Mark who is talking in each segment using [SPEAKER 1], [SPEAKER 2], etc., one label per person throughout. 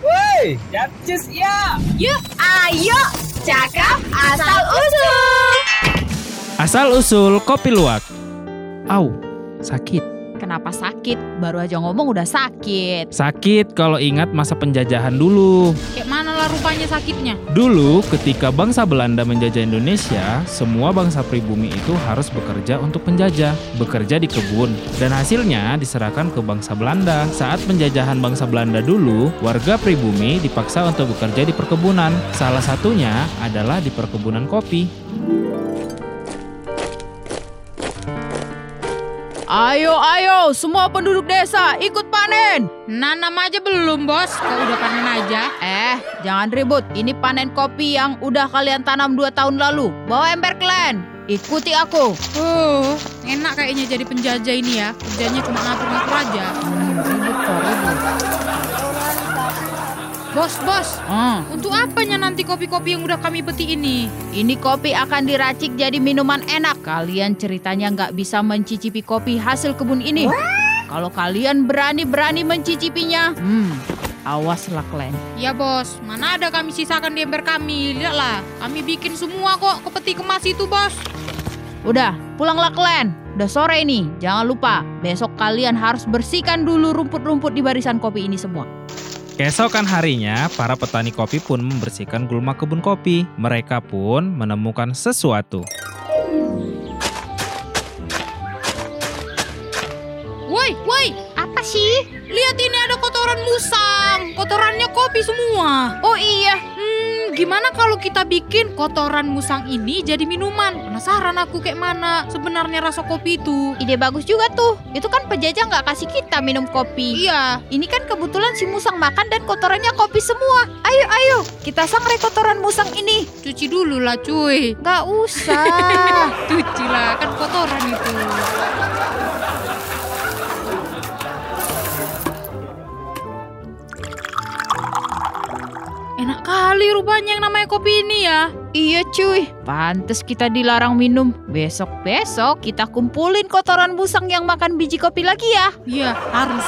[SPEAKER 1] Hey, Yacis ya.
[SPEAKER 2] Yuk, ayo cakap asal usul.
[SPEAKER 3] Asal usul kopi luwak. Au, sakit.
[SPEAKER 2] Kenapa sakit? Baru aja ngomong udah sakit.
[SPEAKER 3] Sakit kalau ingat masa penjajahan dulu.
[SPEAKER 2] Kayak mana lah rupanya sakitnya?
[SPEAKER 3] Dulu ketika bangsa Belanda menjajah Indonesia, semua bangsa pribumi itu harus bekerja untuk penjajah, bekerja di kebun dan hasilnya diserahkan ke bangsa Belanda. Saat penjajahan bangsa Belanda dulu, warga pribumi dipaksa untuk bekerja di perkebunan. Salah satunya adalah di perkebunan kopi.
[SPEAKER 2] Ayo, ayo, semua penduduk desa ikut panen. Nanam aja belum, Bos. Kok udah panen aja? Eh, jangan ribut. Ini panen kopi yang udah kalian tanam dua tahun lalu. Bawa ember kalian. Ikuti aku.
[SPEAKER 4] Oh, enak kayaknya jadi penjajah ini ya. Kerjanya cuma ngatur-ngatur aja. Bos, bos,
[SPEAKER 2] Hmm.
[SPEAKER 4] untuk apanya nanti kopi-kopi yang udah kami peti ini?
[SPEAKER 2] Ini kopi akan diracik jadi minuman enak. Kalian ceritanya nggak bisa mencicipi kopi hasil kebun ini. Kalau kalian berani-berani mencicipinya, hmm, awaslah kalian.
[SPEAKER 4] Ya bos, mana ada kami sisakan di ember kami. Lihatlah, kami bikin semua kok ke peti kemas itu bos.
[SPEAKER 2] Udah, pulanglah kalian. Udah sore ini, jangan lupa besok kalian harus bersihkan dulu rumput-rumput di barisan kopi ini semua.
[SPEAKER 3] Keesokan harinya, para petani kopi pun membersihkan gulma kebun kopi. Mereka pun menemukan sesuatu.
[SPEAKER 4] Woi, woi, apa sih? Lihat ini ada kotoran musang. Kotorannya kopi semua. Oh iya, hmm, gimana kalau kita bikin kotoran musang ini jadi minuman? Penasaran aku kayak mana sebenarnya rasa kopi itu.
[SPEAKER 2] Ide bagus juga tuh. Itu kan penjajah nggak kasih kita minum kopi.
[SPEAKER 4] Iya,
[SPEAKER 2] Ini kan kebetulan si musang makan dan kotorannya kopi semua. Ayo, ayo, kita sangrai kotoran musang ini.
[SPEAKER 4] cuci dulu lah cuy.
[SPEAKER 2] Gak usah.
[SPEAKER 4] Cuci lah, kan kotoran itu. Enak kali rupanya yang namanya kopi ini ya.
[SPEAKER 2] Iya cuy, pantes kita dilarang minum. Besok-besok kita kumpulin kotoran musang yang makan biji kopi lagi ya.
[SPEAKER 4] Iya, harus.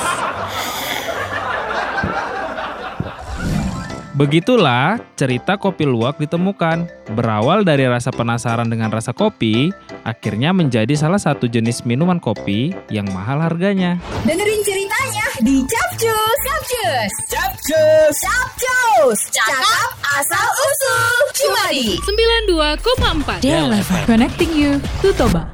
[SPEAKER 3] Begitulah cerita kopi luwak ditemukan. Berawal dari rasa penasaran dengan rasa kopi, akhirnya menjadi salah satu jenis minuman kopi yang mahal harganya.
[SPEAKER 5] Dengerin ceritanya di Capcus. Capcus.
[SPEAKER 1] Yacis.
[SPEAKER 5] Capcus. Cakap asal usul. Cuma di
[SPEAKER 4] 92,4
[SPEAKER 5] Connecting you to Toba.